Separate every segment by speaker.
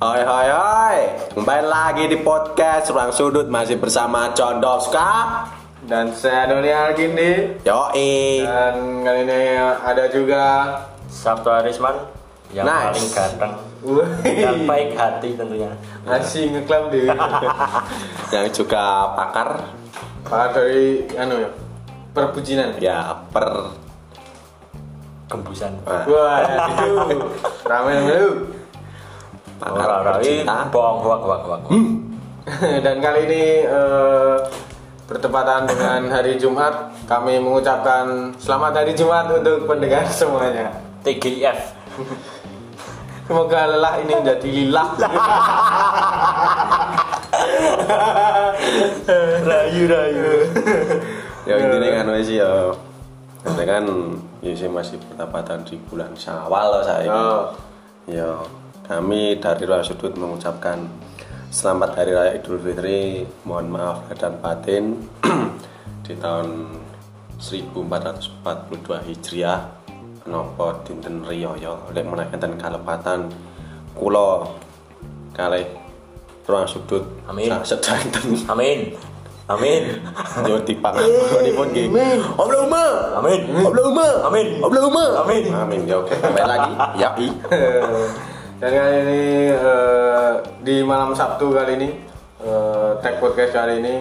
Speaker 1: Hai hai hai Kembali lagi di podcast Ruang Sudut Masih bersama Condowska
Speaker 2: dan saya Doni Alkindi
Speaker 1: Yoi
Speaker 2: dan kali ini ada juga
Speaker 3: Sabtu Arisman yang
Speaker 1: Nice.
Speaker 3: paling ganteng dan
Speaker 2: Wih,
Speaker 3: baik hati tentunya.
Speaker 2: masih ngeklaim diri
Speaker 1: Yang juga pakar
Speaker 2: Pak dari anu ya perbucinan
Speaker 1: Ya per
Speaker 3: Gembusan.
Speaker 1: eh,
Speaker 2: wah itu ramen dulu
Speaker 1: Pakar
Speaker 3: Ora, ora. Ih,
Speaker 1: cinta
Speaker 3: bohong, hoak, hoak, hoak.
Speaker 1: Hmm.
Speaker 2: dan kali ini eh, bertepatan dengan hari Jumat kami mengucapkan selamat hari Jumat untuk pendengar semuanya
Speaker 3: TGIF.
Speaker 2: semoga lelah ini menjadi lilah
Speaker 3: Rayu, rayu.
Speaker 1: Ya intinya kan wes ya Ini kan ya sih masih bertepatan di bulan Syawal loh saya ini.
Speaker 2: oh,
Speaker 1: Ya kami dari Ruang Sudut mengucapkan Selamat Hari Raya Idul Fitri Mohon maaf lahir dan batin Di tahun 1442 Hijriah Nopo Dinten Riyoyo Lek menaikkan kalepatan Kulo Kalih Ruang Sudut
Speaker 3: Amin.
Speaker 1: Sedanten
Speaker 3: Amin. Amin.
Speaker 1: Yo dipangapun nggih. Allahumma
Speaker 3: Amin.
Speaker 1: Allahumma
Speaker 3: Amin.
Speaker 1: Allahumma
Speaker 3: Amin.
Speaker 1: Amin ya oke kembali lagi Ya i
Speaker 2: Dan kali ini eh, di malam Sabtu kali ini eh, tag podcast kali ini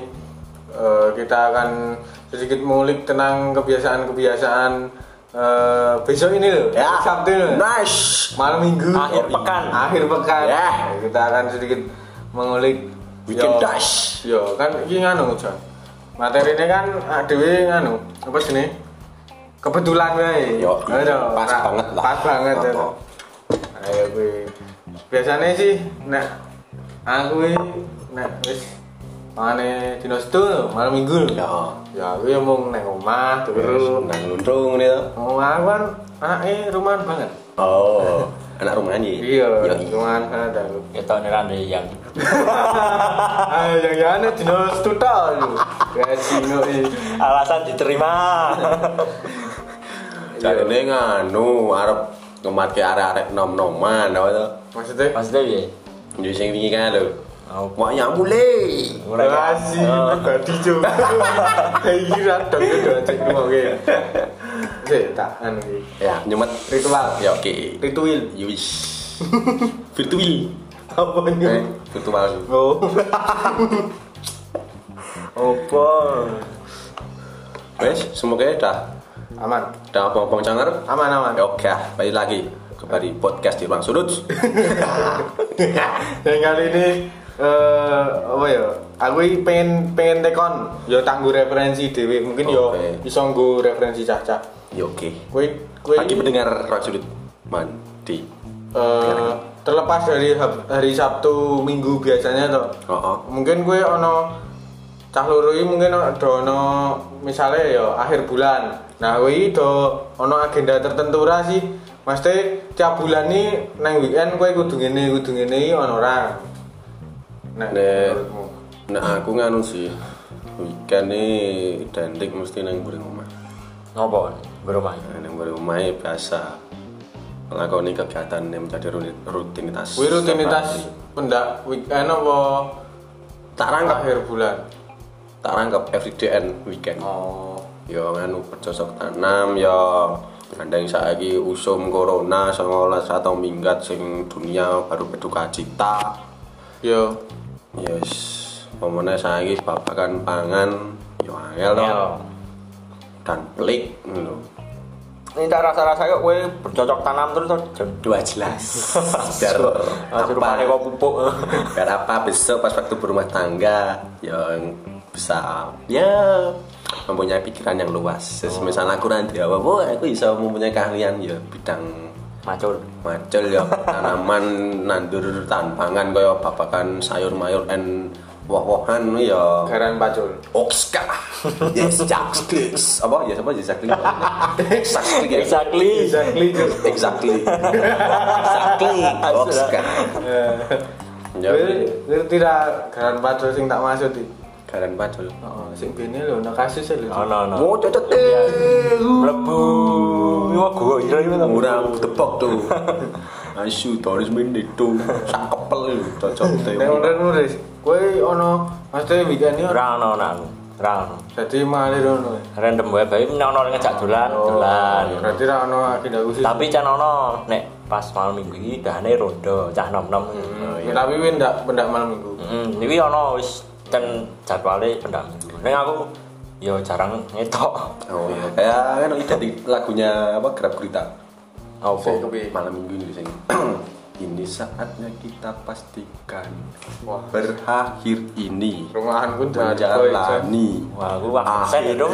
Speaker 2: eh, kita akan sedikit mengulik tentang kebiasaan-kebiasaan eh, besok ini loh
Speaker 1: Ya
Speaker 2: Sabtu ini loh.
Speaker 1: Nice
Speaker 2: malam minggu
Speaker 3: Akhir pekan.
Speaker 2: akhir pekan
Speaker 1: Ya.
Speaker 2: kita akan sedikit mengulik
Speaker 1: Weekend
Speaker 2: Yo,
Speaker 1: dash.
Speaker 2: yo kan ini nganu Jon materi ini kan adewe nganu apa sih nih kebetulan wae
Speaker 1: Yo,
Speaker 2: Aduh,
Speaker 1: pas
Speaker 2: ra-
Speaker 1: banget lah.
Speaker 2: pas banget
Speaker 1: Apa?
Speaker 2: ya. Ayo gue. Biasanya sih nek aku iki, nek wis mangane dino setu malam Minggu. lho.
Speaker 1: Ya.
Speaker 2: Ya aku ya mung nang omah turu.
Speaker 1: Nang luntung nih tuh.
Speaker 2: Omah aku kan anake rumahan banget.
Speaker 1: Oh, anak rumah nih.
Speaker 2: Iya,
Speaker 1: i-
Speaker 2: rumahan banget aku.
Speaker 3: Kita nih rande yang
Speaker 2: Ayo Ah, yang jane dino setu tok lho. Kayak singo iki.
Speaker 3: alasan diterima.
Speaker 1: Jadi ini nganu arep ngemat ke arek-arek nom noman, apa tuh?
Speaker 2: Maksudnya
Speaker 3: Maksudnya ya?
Speaker 1: Jadi sing wingi kan lho.
Speaker 3: Mau
Speaker 1: Mau yang mulai.
Speaker 2: Rasi pribadi juga. Iki ra dong kudu cek ngono Sik tak anu iki.
Speaker 1: Ya, nyemet.
Speaker 2: Ritual.
Speaker 1: Ya oke.
Speaker 2: Ritual.
Speaker 1: Yuis. Virtual.
Speaker 2: Apa ini?
Speaker 1: Eh, virtual.
Speaker 2: Oh.
Speaker 3: Opo.
Speaker 1: Wes, semoga ya dah
Speaker 2: Aman.
Speaker 1: dah bong-bong cangar.
Speaker 2: Aman aman.
Speaker 1: Ya oke, ah, balik lagi kembali podcast di Ruang Sudut.
Speaker 2: Dan kali ini eh apa ya? Aku ini pengen pengen tekon ya tanggo referensi dhewe. Mungkin ya
Speaker 1: Oke.
Speaker 2: iso nggo referensi cah-cah.
Speaker 1: Ya oke.
Speaker 2: Kowe kowe
Speaker 1: Bagi pendengar Ruang Sudut mandi.
Speaker 2: eh terlepas dari hab- hari Sabtu Minggu biasanya toh.
Speaker 1: Heeh.
Speaker 2: Mungkin kowe ono cah loro iki mungkin ada ono misalnya ya akhir bulan. Nah, kowe iki do ono agenda tertentu ra sih? Maksudnya tiap bulan nih nang weekend kowe kudu ngene kudu ngene iki ono ra? Nah,
Speaker 1: Nek-
Speaker 2: menurutmu?
Speaker 1: Nah aku nganu sih weekend nih identik mesti nang buri rumah.
Speaker 3: Ngopo? Berumah.
Speaker 1: Nang buri rumah ya biasa melakoni kegiatan yang menjadi runi- rutinitas.
Speaker 2: Kuwi rutinitas
Speaker 1: setiap hari.
Speaker 2: pendak weekend apa
Speaker 1: tak rangkap,
Speaker 2: akhir bulan?
Speaker 1: tak rangkap everyday and weekend.
Speaker 2: Oh.
Speaker 1: Yo nganu bercocok tanam yo ada yang saiki usum corona songolas atau minggat sing dunia baru berduka cita.
Speaker 2: Yo,
Speaker 1: Yes, pemenang Ya saiki babakan pangan yo angel
Speaker 3: Yo.
Speaker 1: dong dan pelik ngono.
Speaker 3: Ini tak rasa-rasa kok kowe bercocok tanam terus to, Jon.
Speaker 1: dua jelas biar
Speaker 3: Aja rupane
Speaker 1: apa
Speaker 3: kok pupuk.
Speaker 1: biar apa besok pas waktu berumah tangga yang bisa ya mempunyai pikiran yang luas Terus misalnya aku nanti apa oh, aku bisa mempunyai keahlian ya bidang
Speaker 3: Macul.
Speaker 1: macul ya tanaman nandur tanpangan kaya babakan sayur mayur and woh-wohan ya
Speaker 2: garan pacul.
Speaker 1: Okska, yes, Jacksklis, apa ya, apa Jacksklis, Jacksklis,
Speaker 3: Exactly.
Speaker 1: Iya.
Speaker 2: Exactly.
Speaker 1: exactly exactly box kan ya
Speaker 2: Kuwi kuwi tidak garan pacul sing tak maksud iki.
Speaker 1: kalian pacul
Speaker 2: Oh, sing bene lho, nek kasus e lho.
Speaker 3: Oh no no.
Speaker 1: mau eh. cocok
Speaker 3: Mlebu. Iwa gua ira iwa.
Speaker 1: orang tepok tuh asu turis mendek tuh sangkep kopel lho, cocok
Speaker 2: Nek
Speaker 1: teo.
Speaker 2: urip nulis, kowe ono mesti weekend iki
Speaker 3: Ora ono nak aku. Ora ono.
Speaker 2: dadi malir ono. Oh,
Speaker 3: Random wae bae nek ono ngejak dolan, dolan.
Speaker 2: Berarti ra ono agenda khusus.
Speaker 3: Tapi can ono nek pas malam minggu iki dahane rondo, cah nom-nom.
Speaker 2: Ya, Tapi kowe ndak pendak malam minggu.
Speaker 3: Hmm, iki ono wis ten jadwale pendak minggu. Ning aku ya jarang ngetok.
Speaker 1: Oh iya. Kayak kan lihat di lagunya apa Grab Gurita.
Speaker 3: Apa?
Speaker 2: Sik, kepiye?
Speaker 1: Malam minggu ini sing. ini saatnya kita pastikan
Speaker 2: Wah.
Speaker 1: berakhir ini
Speaker 2: Rumahan ku ndak
Speaker 1: menjalani
Speaker 3: Wah, aku wah sen itu.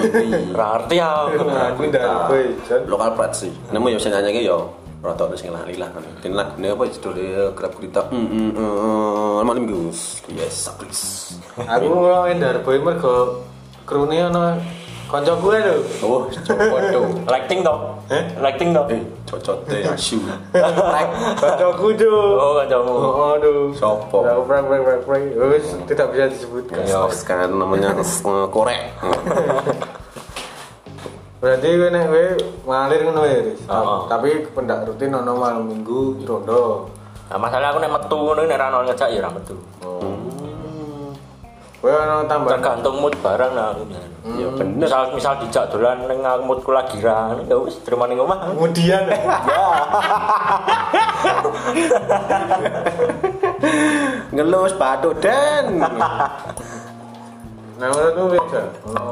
Speaker 3: Ora ngerti aku.
Speaker 2: Rumahan ku ndak ijan.
Speaker 1: lokal plat sih. Nemu ya sing nyanyi ki ya rada wis ngelali lah kan. Kene lagune apa judule Grab Gurita. Hmm hmm. Malam minggu. Yes, please.
Speaker 2: Aku ngono Darboy mergo krune ono kanca gue lho.
Speaker 1: Oh, cocok dong.
Speaker 3: Lighting dong. Lighting dong.
Speaker 1: Eh, cocok teh asyik.
Speaker 2: Kanca ku
Speaker 3: Oh, kancamu.
Speaker 2: Oh, aduh. Ya,
Speaker 1: Sopo?
Speaker 2: Aku prank prank prank prank. Wis tidak bisa disebutkan.
Speaker 1: Ya, sekarang namanya eh, korek.
Speaker 2: Berarti gue nek gue ngalir ngono ya, Riz.
Speaker 3: Oh.
Speaker 2: Tapi pendak rutin ono malam minggu rondo.
Speaker 3: Nah, masalah aku nek metu ngono nek ora ono ngejak ya ora metu.
Speaker 2: Gue ono tambah.
Speaker 3: Tergantung mood barang nah aku.
Speaker 1: Ya bener.
Speaker 3: Misal misal dijak dolan ning aku moodku lagi ra, ya wis terima ning omah.
Speaker 2: Kemudian
Speaker 1: Ngelus batu dan.
Speaker 2: nah menurutmu beda. Ono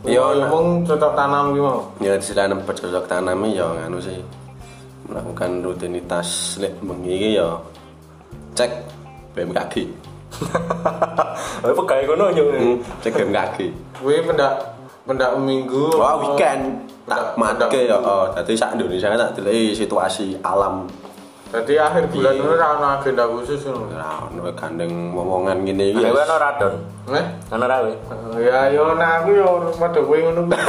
Speaker 1: Iya,
Speaker 2: Yo,
Speaker 1: ono.
Speaker 2: ngomong cocok tanam ki mau.
Speaker 1: ya selain bercocok tanami ya nganu sih melakukan rutinitas lek bengi iki ya cek BMKG.
Speaker 3: Ayo pegawe ngono yo.
Speaker 1: Hmm, cek BMKG.
Speaker 2: Gue pendak pendak minggu.
Speaker 1: Wah, weekend tak
Speaker 2: Udah,
Speaker 1: madke ya.
Speaker 2: udah.
Speaker 1: Oh, dadi sak Indonesia kan tak deleki situasi alam
Speaker 2: Jadi akhir bulan ini ora ono agenda khusus ngono.
Speaker 1: Nah, ono gandeng momongan ngene iki.
Speaker 3: Ayo ono radon.
Speaker 2: Eh?
Speaker 3: Ono ra we.
Speaker 2: Ya yo nah aku yo padha kowe ngono. kuwi.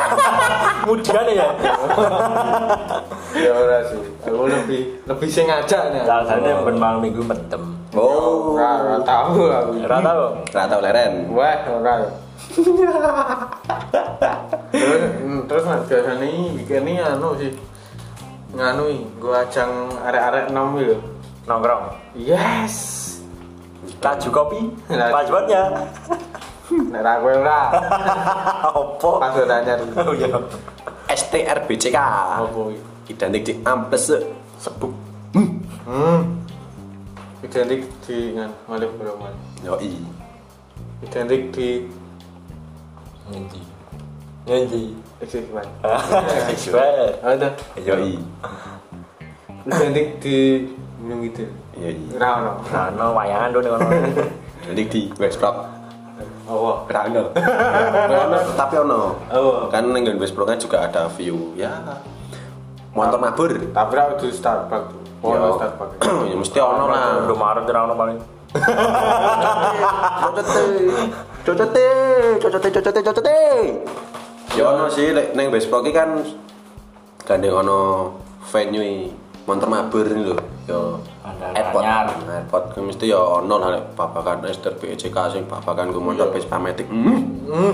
Speaker 3: Kemudian ya.
Speaker 2: Ya ora sih. Aku lebih lebih sing ngajak nih.
Speaker 3: Rasane ben malam minggu mendem.
Speaker 1: Oh,
Speaker 2: Ora ora tahu aku.
Speaker 3: Ora tau.
Speaker 1: ora tau leren.
Speaker 2: Wah, ora ya. terus mm, terus mas biasanya ini weekend ini anu sih nganu ini gua ajang arek-arek nom gitu
Speaker 3: Nongkrong.
Speaker 2: yes
Speaker 3: Laju kopi.
Speaker 2: Laju.
Speaker 3: Passwordnya.
Speaker 2: nek ra kowe ora
Speaker 3: Apa?
Speaker 2: pas ora nyari
Speaker 3: Oh iya.
Speaker 1: STRBCK.
Speaker 2: opo iki
Speaker 1: Identik di ampes.
Speaker 3: Sebuk.
Speaker 2: hmm identik di ngan malih beroman
Speaker 1: Yoi.
Speaker 2: identik di
Speaker 3: Ngendi? Ngendi?
Speaker 2: eksis man
Speaker 3: Sesuai.
Speaker 2: ada
Speaker 1: Yoi.
Speaker 2: identik di minum gitu
Speaker 1: Yoi.
Speaker 2: ora ono
Speaker 3: Rano wayangan dong ngono.
Speaker 1: Identik di Westbrook.
Speaker 2: opo
Speaker 1: Ora ono. Tapi ono.
Speaker 2: Oh.
Speaker 1: Kan ning Grand West Pro kan juga ada view ya. Motor mabur.
Speaker 2: tapi ra kudu Starbucks
Speaker 1: Ya.
Speaker 2: ono Starbucks
Speaker 1: ya mesti ono lah.
Speaker 3: Udah marah jadi rano paling.
Speaker 1: Cocote. Cocote, cocote, cocote, cocote. Ya ono sih lek ning West Pro ki kan gandeng ono venue motor mabur ini lho. Yo
Speaker 3: Bandar
Speaker 1: airport.
Speaker 3: Anyar.
Speaker 1: Airport ki mesti ya ono lah lek babakan Esther BCK E sing babakan ku motor Vespa Matic. Hmm.
Speaker 2: hmm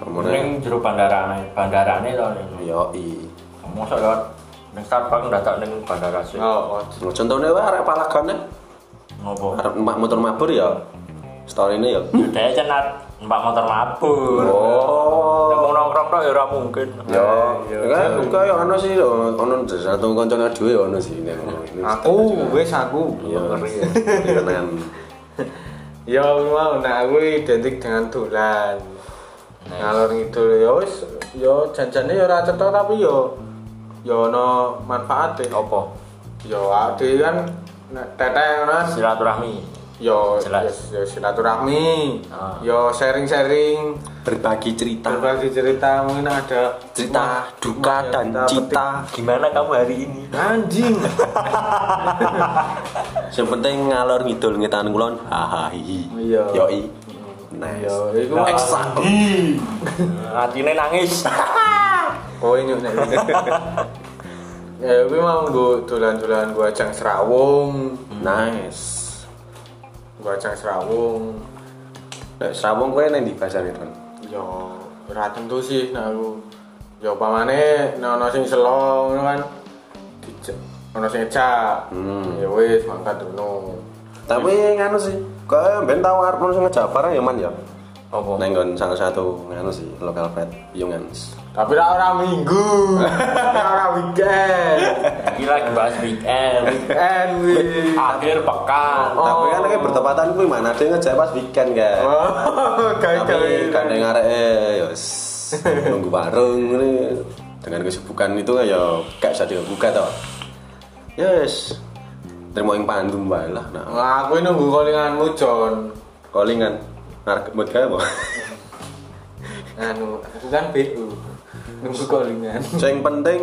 Speaker 1: Ngomongnya,
Speaker 3: Neng jero bandara bandara nih loh.
Speaker 1: Yoi.
Speaker 3: Masa lewat neng Starbucks udah tak neng bandara sih.
Speaker 2: oh oh.
Speaker 1: Nah, Contohnya wae arek palagone
Speaker 3: Ngopo?
Speaker 1: arep numpak motor mabur ya. Story ini ya.
Speaker 3: Daya cenat mbak motor mabur.
Speaker 1: Oh.
Speaker 3: Nek mau nongkrong tok ya ora mungkin.
Speaker 1: Ya, ya kan buka ya ono sih lho, ono satu kancane dhewe ya ono sih nek ngono. Ini
Speaker 2: aku wes aku
Speaker 1: ya keren.
Speaker 2: Ya mau nah aku identik dengan dolan. Ngalor ngidul ya wis ya janjane ya ora cetha tapi ya ya ono manfaate.
Speaker 3: Apa?
Speaker 2: Ya ade kan nek teteh ngono kan,
Speaker 3: Silaturahmi.
Speaker 2: ya
Speaker 3: Jelas.
Speaker 2: ya, ya silaturahmi.
Speaker 3: Ah.
Speaker 2: Ya sharing-sharing
Speaker 1: Berbagi cerita,
Speaker 2: berbagi cerita mungkin ada
Speaker 1: cerita duka
Speaker 2: Cerita
Speaker 1: dan
Speaker 2: petik.
Speaker 1: cita.
Speaker 3: Gimana kamu hari ini?
Speaker 2: anjing.
Speaker 1: Yang penting ngalor ngidul ngetan kulon. Hahaha.
Speaker 2: Iya.
Speaker 1: Yoi. Nice.
Speaker 2: Ya iku
Speaker 1: Exact.
Speaker 3: Hatine nangis.
Speaker 2: kowe nyuk nek. Oh, Ya kuwi mau nggo dolan-dolan gua ajang Serawung,
Speaker 1: Hmm. Nice.
Speaker 2: gua ajang Serawung.
Speaker 1: Nek Srawung kowe nang di pasar itu.
Speaker 2: Ya ora tentu sih nek aku. Ya upamane nek ana sing selo ngono kan dijak ana sing ejak.
Speaker 1: Hmm.
Speaker 2: Ya wis mangkat dulu.
Speaker 1: Tapi nganu sih, kok ben tau arep langsung ngejawab barang ya man ya.
Speaker 3: Apa?
Speaker 1: Neng nggon salah satu nganu sih, lokal pet Yungans.
Speaker 2: Tapi lah orang minggu, orang weekend,
Speaker 3: Ini lagi bahas weekend.
Speaker 2: weekend wih.
Speaker 3: Akhir pekan.
Speaker 1: Tapi kan kayak bertepatan kuwi mana dia ngejawab pas weekend kan.
Speaker 2: Oh,
Speaker 1: Ah. Tapi
Speaker 2: gawe-gawe.
Speaker 1: kadang arek eh, ya s- nunggu bareng ini dengan kesibukan itu kan ya gak bisa dibuka toh. Yes. Terima yang pandum bae lah. Nah,
Speaker 2: Nah, aku ini nunggu callinganmu John.
Speaker 1: callingan arek buat kae apa?
Speaker 2: Anu, aku kan BU. Nunggu callingan.
Speaker 1: Yang penting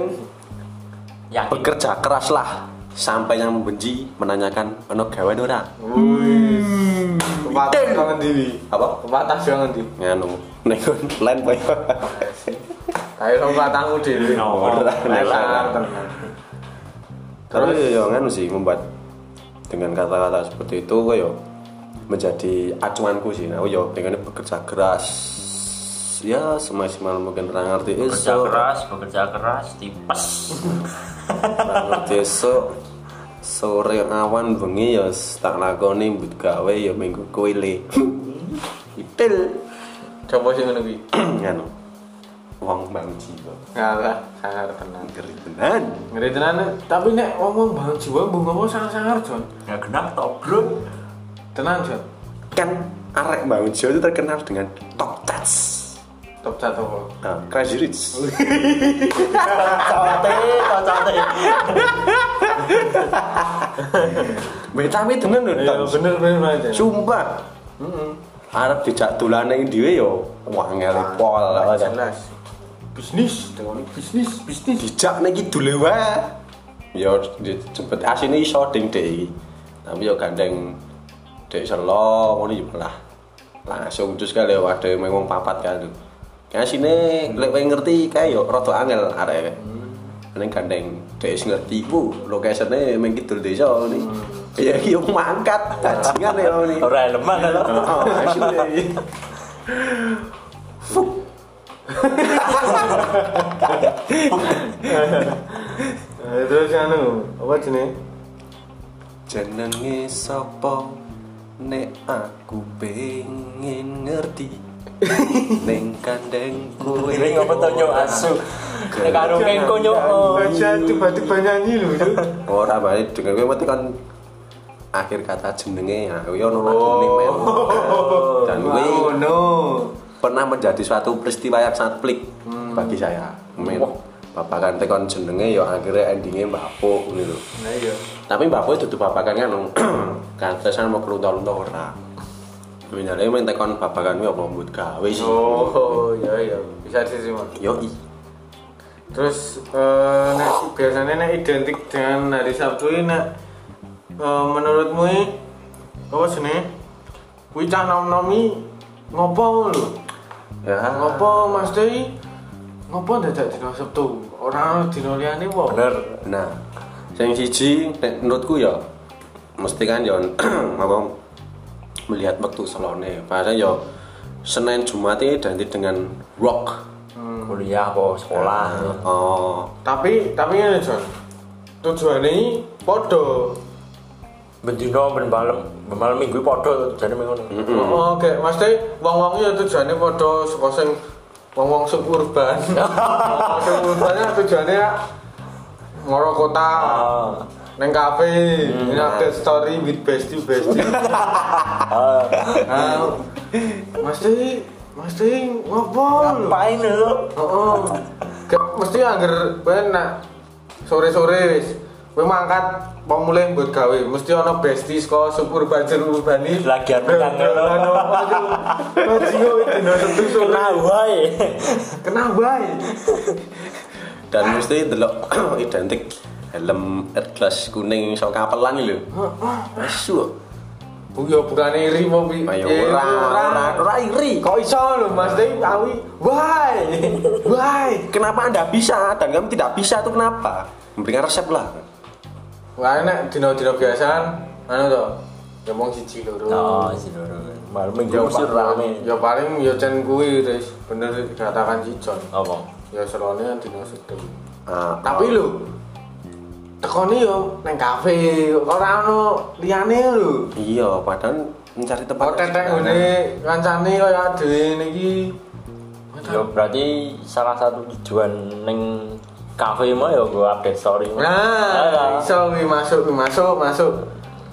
Speaker 3: Yakin.
Speaker 1: bekerja keraslah sampai yang membenci menanyakan ono gawe ora
Speaker 2: Wih. Hmm. Kepatah jangan di.
Speaker 1: apa
Speaker 2: Kepatah jangan di.
Speaker 1: nganu ning lain po ya.
Speaker 2: Kayak sama kepatahmu dewi.
Speaker 3: No.
Speaker 1: Ora,
Speaker 2: Iya, Lelar
Speaker 1: ora.
Speaker 2: tenang.
Speaker 1: Tapi ya nganu sih membuat dengan kata-kata seperti itu kok ya menjadi acuanku sih nah yo pengen bekerja keras ya semaksimal mungkin orang ngerti
Speaker 3: Bekerja
Speaker 1: esok
Speaker 3: keras, bekerja keras, tipes.
Speaker 1: orang ngerti esok sore awan bengi ya tak lakoni mbut gawe ya minggu kuili itil
Speaker 2: Coba sih ngono kuwi.
Speaker 1: nganu wong bangun jiwa
Speaker 2: Ngalah, sangar tenang.
Speaker 1: ngeri tenan
Speaker 2: Ngeri tenan, Nek. tapi nek ngomong bangun jiwa, mbok ngomong sangar-sangar John.
Speaker 3: Nggak genap toh, bro.
Speaker 2: Tenang John.
Speaker 1: kan arek bangun jiwa itu terkenal dengan top touch
Speaker 2: Top satu kok.
Speaker 1: Ah, Crazy Rich
Speaker 3: Cocote, cocote.
Speaker 1: Betame tenan lho.
Speaker 2: Iya,
Speaker 1: Tan.
Speaker 2: bener bener banget. John.
Speaker 1: Sumpah. Arab dijak dolane dhewe yo wangel pol
Speaker 2: jelas. Bisnis, dengan bisnis, bisnis.
Speaker 1: Dijak nek iki dule wae. Yo di- cepet asine iso ding dek iki. Tapi yo gandeng dek selo ngono yo malah langsung terus kali waduh main wong papat kan. Kayak asine lek pengen ngerti kae yo rada angel arek. Ning gandeng dek sing ngerti ku lokasine mung kidul desa ni. Ya iki yo mangkat bajingan yo ni.
Speaker 3: Ora elemen lho.
Speaker 1: Oh, asli.
Speaker 2: Eh, Terus anu, apa jenis?
Speaker 1: Jenenge sapa nek aku pengen ngerti Neng kandeng kowe
Speaker 3: Ini ngapa tau nyok asu. Nek karo pengko nyok. Oh.
Speaker 2: Baca tiba-tiba nyanyi lho. Cuk.
Speaker 1: Ora balik dengan kowe mesti kan akhir kata jenenge ya kowe ono lagune
Speaker 3: Oh.
Speaker 1: men. Dan kowe
Speaker 2: Wow, no.
Speaker 1: pernah menjadi suatu peristiwa yang sangat pelik
Speaker 3: Hmm.
Speaker 1: bagi saya. Men. Babakan tekon jenenge ya akhirnya endingnya mbapuk gitu.
Speaker 2: Nah iya.
Speaker 1: tapi mbak Boy tutup babakan kan kantesan mau kerunta-runta ora Misalnya minta kon babakan gue apa mbut gawe sih
Speaker 2: Oh, iya iya. Bisa diterima.
Speaker 1: Yoi
Speaker 2: Terus eh, nek, biasanya nek identik dengan hari Sabtu ini nek eh, menurutmu ini, apa sini? Kuwi cah nom-nomi ngopo lho?
Speaker 1: Ya
Speaker 2: Ngopo Mas Dei? Ngopo dadak dina Sabtu? Ora dina liyane wae.
Speaker 3: Bener.
Speaker 1: Nah Yang siji nek menurutku ya Mesti kan ya apa Melihat waktu selone Bahasa ya Senin Jumat ini identik dengan rock
Speaker 3: Kuliah apa sekolah.
Speaker 1: Oh
Speaker 2: Tapi tapi ngene Jon. Tujuane iki padha.
Speaker 3: Bendino ben malam, ben malam minggu padha jane minggu.
Speaker 2: Oh, Oke, Mas Dei, wong-wong ya tujuane padha saka sing wong-wong suburban. Wong suburban ya tujuane ya ngoro kota.
Speaker 3: Ah. Oh.
Speaker 2: Neng kafe, ini update story with bestie bestie. Ah, Mas Dei, Mas Dei ngopo? lho?
Speaker 3: Ngapain lho?
Speaker 2: Oh, Ke- mesti angger penak sore-sore wis. Kowe mangkat mau mulai buat gawe, mesti ono bestie saka supur banjir urbani.
Speaker 3: Lagian menang ngono.
Speaker 2: Bajingo dino setu sore.
Speaker 3: Nah, wae.
Speaker 2: Kena wae.
Speaker 1: Dan mesti delok identik helm atlas kuning sok kapelan lho Asu
Speaker 2: Bu yo bukane iri mau pi. Eh,
Speaker 1: Ayo Ah, ora Eh, ora ora iri
Speaker 2: Kok iso lho Mas Dei awi. Wae. Wae.
Speaker 1: Kenapa Anda bisa dan kami tidak bisa itu kenapa? Memberikan resep lah.
Speaker 2: Wae nek dino-dino biasa kan anu to. Ya wong siji loro.
Speaker 3: Oh, sih lho. Malam minggu
Speaker 2: Ya
Speaker 3: mesti rame.
Speaker 2: paling, ya paling ya cen kuwi Riz. bener dikatakan si John.
Speaker 3: Apa?
Speaker 2: Ya serone kan dino setu.
Speaker 1: Ah,
Speaker 2: Tapi lho, tekoni yo neng kafe ora ono liyane lho
Speaker 1: iya padahal mencari tempat
Speaker 2: kok tetek ngene kancane kaya dhewe niki
Speaker 3: Yo berarti salah satu tujuan neng kafe mah yo gue update story.
Speaker 2: nah iso kuwi masuk kuwi masuk masuk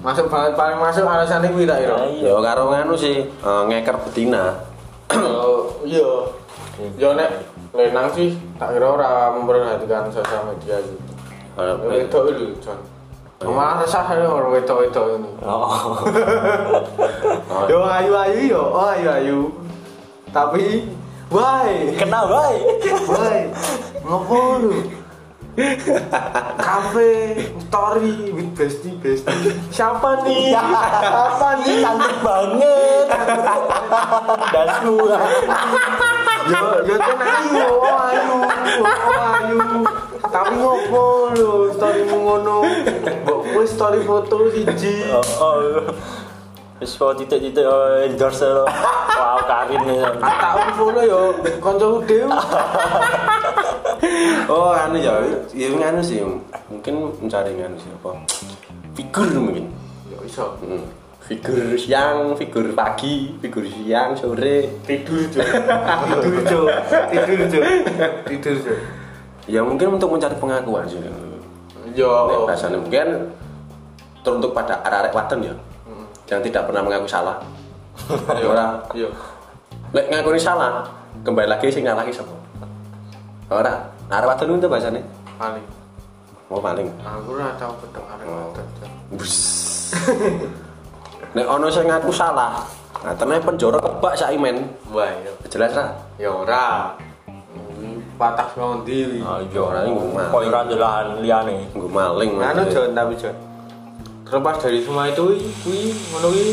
Speaker 2: masuk banget paling masuk alasan kuwi tak ira
Speaker 3: Iya.
Speaker 1: ya karo nganu sih eh, ngeker betina
Speaker 2: Yo, iya yo nek lenang sih tak kira ora memperhatikan sosial media gitu
Speaker 1: Kalau-
Speaker 2: Yo, wedok lho Jon Malah resah saya orang wedok-wedok ini
Speaker 3: Oh.
Speaker 1: Oh,
Speaker 2: Yo ayu-ayu yo, oh ayu-ayu Tapi, why?
Speaker 3: Kenapa?
Speaker 2: Woi, ngopo lu? Kafe, story, with bestie, bestie. Siapa nih? Siapa nih?
Speaker 3: Cantik banget. Dan gua.
Speaker 2: Yo, yo kan ayu, oh ayu, oh ayu. Tapi ngopo lu? Story ngono. Mbok kowe story foto siji.
Speaker 3: Oh, oh. Wis kok titik-titik oh, endorse lo. Wow, Karin nih.
Speaker 2: Tak follow yo, kancaku dhewe.
Speaker 1: oh anu ya ya nganu sih mungkin mencari nganu sih apa figur mungkin
Speaker 2: Yo iso.
Speaker 1: Hmm. figur siang figur pagi figur siang sore
Speaker 2: Tidur, Jo. Tidur, Jo. Tidur, Jo. Tidur, Jo.
Speaker 1: ya mungkin untuk mencari pengakuan sih
Speaker 2: Yo.
Speaker 1: Nek bahasanya mungkin teruntuk pada arah-arah waton ya yang tidak pernah mengaku salah ya orang
Speaker 2: Yo.
Speaker 1: lek ngaku salah kembali lagi sing lagi sama orang arah waton itu bahasanya
Speaker 2: Paling
Speaker 1: mau paling
Speaker 2: Aku ora tau ketemu arek
Speaker 1: Oh.
Speaker 2: wadon. Jon.
Speaker 1: Bus. Nek ono sing ngaku salah, ngatene penjara kebak sak imen.
Speaker 2: Wah, ya.
Speaker 1: Jelas lah.
Speaker 2: Ya ora. Patah wong ndi?
Speaker 3: Oh, iya
Speaker 1: Orang ini ngomong.
Speaker 3: Kok ora dolahan liyane.
Speaker 1: Nggo maling.
Speaker 2: Anu Jon tapi Jon. Terlepas dari semua itu, wi, kuwi ngono kuwi.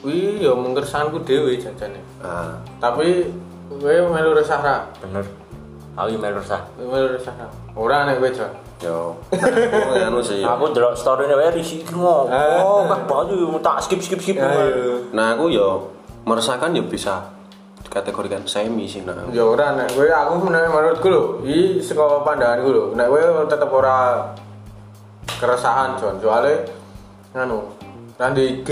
Speaker 2: Kuwi ya mung kersanku dhewe janjane.
Speaker 1: Ah,
Speaker 2: Tapi kowe melu resah ra?
Speaker 3: Bener. Aku yang melu resah.
Speaker 2: Kowe melu resah ra? Ora nek kowe Jon.
Speaker 1: yo. Aku anu sih. yo.
Speaker 3: Aku delok story nih, wae Rizky iki ngopo,
Speaker 2: Ah.
Speaker 3: kah oh." baju tak skip skip skip.
Speaker 1: Nah, aku yo meresahkan yo bisa dikategorikan semi sih nah.
Speaker 2: Ya ora nek kowe aku menawa menurutku lho, iki saka pandanganku lho. Nek kowe tetep ora keresahan Jon, soalnya anu, nanti IG,